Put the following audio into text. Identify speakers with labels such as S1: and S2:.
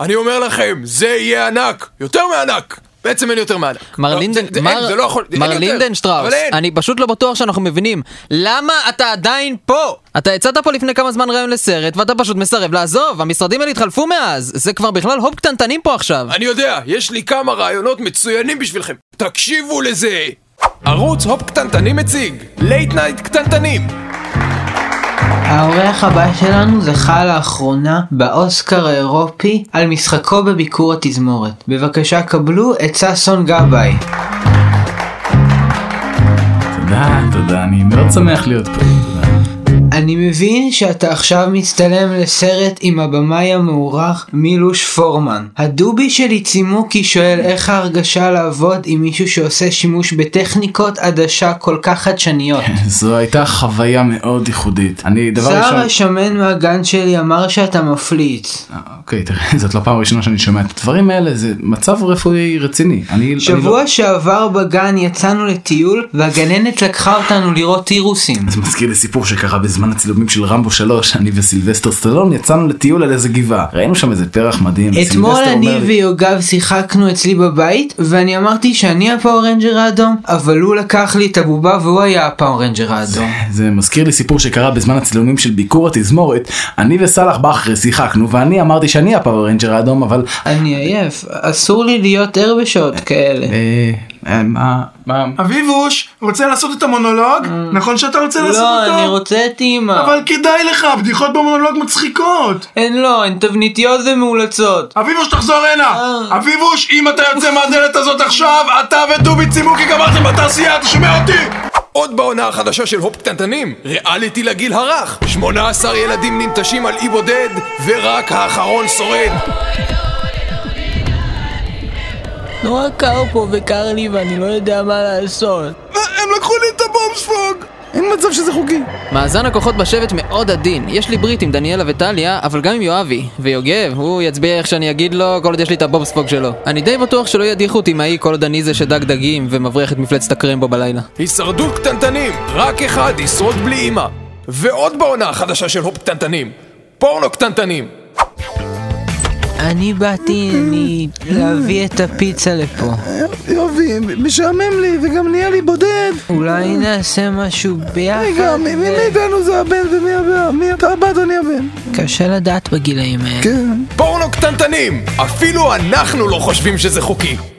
S1: אני אומר לכם, זה יהיה ענק, יותר מענק. בעצם אין יותר מענק.
S2: מר
S1: לא,
S2: לינדן,
S1: זה- זה-
S2: מר-
S1: אין, זה לא יכול- אין
S2: מר
S1: יותר.
S2: לינדנשטראוס,
S1: אבל אין.
S2: אני פשוט לא בטוח שאנחנו מבינים למה אתה עדיין פה. אתה הצעת פה לפני כמה זמן רעיון לסרט ואתה פשוט מסרב לעזוב, המשרדים האלה התחלפו מאז, זה כבר בכלל הופ קטנטנים פה עכשיו.
S1: אני יודע, יש לי כמה רעיונות מצוינים בשבילכם. תקשיבו לזה! ערוץ הופ קטנטנים מציג, לייט נייט קטנטנים.
S3: האורח הבא שלנו זכה לאחרונה באוסקר האירופי על משחקו בביקור התזמורת. בבקשה קבלו את ששון גבאי.
S4: תודה, תודה, אני מאוד שמח להיות פה. תודה.
S3: אני מבין שאתה עכשיו מצטלם לסרט עם הבמאי המוערך מילוש פורמן. הדובי שלי צימוקי שואל איך ההרגשה לעבוד עם מישהו שעושה שימוש בטכניקות עדשה כל כך חדשניות.
S4: זו הייתה חוויה מאוד ייחודית. אני דבר
S3: זר
S4: ראשון...
S3: השמן מהגן שלי אמר שאתה מפליץ.
S4: אה, אוקיי, תראה, זאת לא פעם ראשונה שאני שומע את הדברים האלה, זה מצב רפואי רציני. אני... לא- אני
S3: שבוע שעבר בגן יצאנו לטיול והגננת לקחה אותנו לראות תירוסים.
S4: זה מזכיר לי סיפור שקרה בזמן הצילומים של רמבו 3, אני וסילבסטר סטלון יצאנו לטיול על איזה גבעה. ראינו שם איזה פרח מדהים.
S3: אתמול
S4: סילבסטר
S3: אני
S4: אומר לי,
S3: ויוגב שיחקנו אצלי בבית ואני אמרתי שאני הפאור רנג'ר האדום אבל הוא לקח לי את הבובה והוא היה הפאור רנג'ר האדום.
S4: זה מזכיר לי סיפור שקרה בזמן הצילומים של ביקור התזמורת, אני וסאלח בכרי שיחקנו ואני אמרתי שאני הפאוור רנג'ר האדום אבל
S3: אני עייף, אסור לי להיות ער בשעות כאלה.
S4: אה, אה, מה מה
S5: אביבוש, רוצה לעשות את המונולוג? נכון שאתה רוצה לעשות
S3: אה. לא,
S5: אותו?
S3: אני רוצה את אימא.
S5: אבל כדאי לך, בדיחות במונולוג מצחיקות.
S3: הן לא, הן תבניתיות ומאולצות.
S5: אביבוש, תחזור הנה.
S3: אה.
S5: אביבוש, אם אתה יוצא מהדלת הזאת עכשיו, אתה ודובי צימוקי גמרתם בתעשייה, אתה שומע אותי?
S1: עוד בעונה החדשה של הופ קטנטנים, ריאליטי לגיל הרך. 18 ילדים ננטשים על אי בודד, ורק האחרון שורד.
S6: נורא קר לא פה וקר לי ואני לא יודע מה לעשות.
S1: הם לקחו לי את הבומספוג!
S2: מאזן הכוחות בשבט מאוד עדין, יש לי ברית עם דניאלה וטליה, אבל גם עם יואבי, ויוגב, הוא יצביע איך שאני אגיד לו, כל עוד יש לי את הבובספוג שלו. אני די בטוח שלא ידיחו אותי מהאי כל עוד אני זה שדג דגים ומבריח את מפלצת הקרמבו בלילה.
S1: הישרדות קטנטנים, רק אחד ישרוד בלי אימא. ועוד בעונה החדשה של הופ קטנטנים, פורנו קטנטנים.
S3: אני באתי אני, להביא את הפיצה לפה.
S7: יובי, משעמם לי, וגם נהיה לי בודד.
S3: אולי נעשה משהו ביחד.
S7: רגע, מי מי מאיתנו זה הבן ומי הבן? מי אתה הבת או אני הבן?
S3: קשה לדעת בגילאים האלה.
S7: כן.
S1: פורנו קטנטנים! אפילו אנחנו לא חושבים שזה חוקי.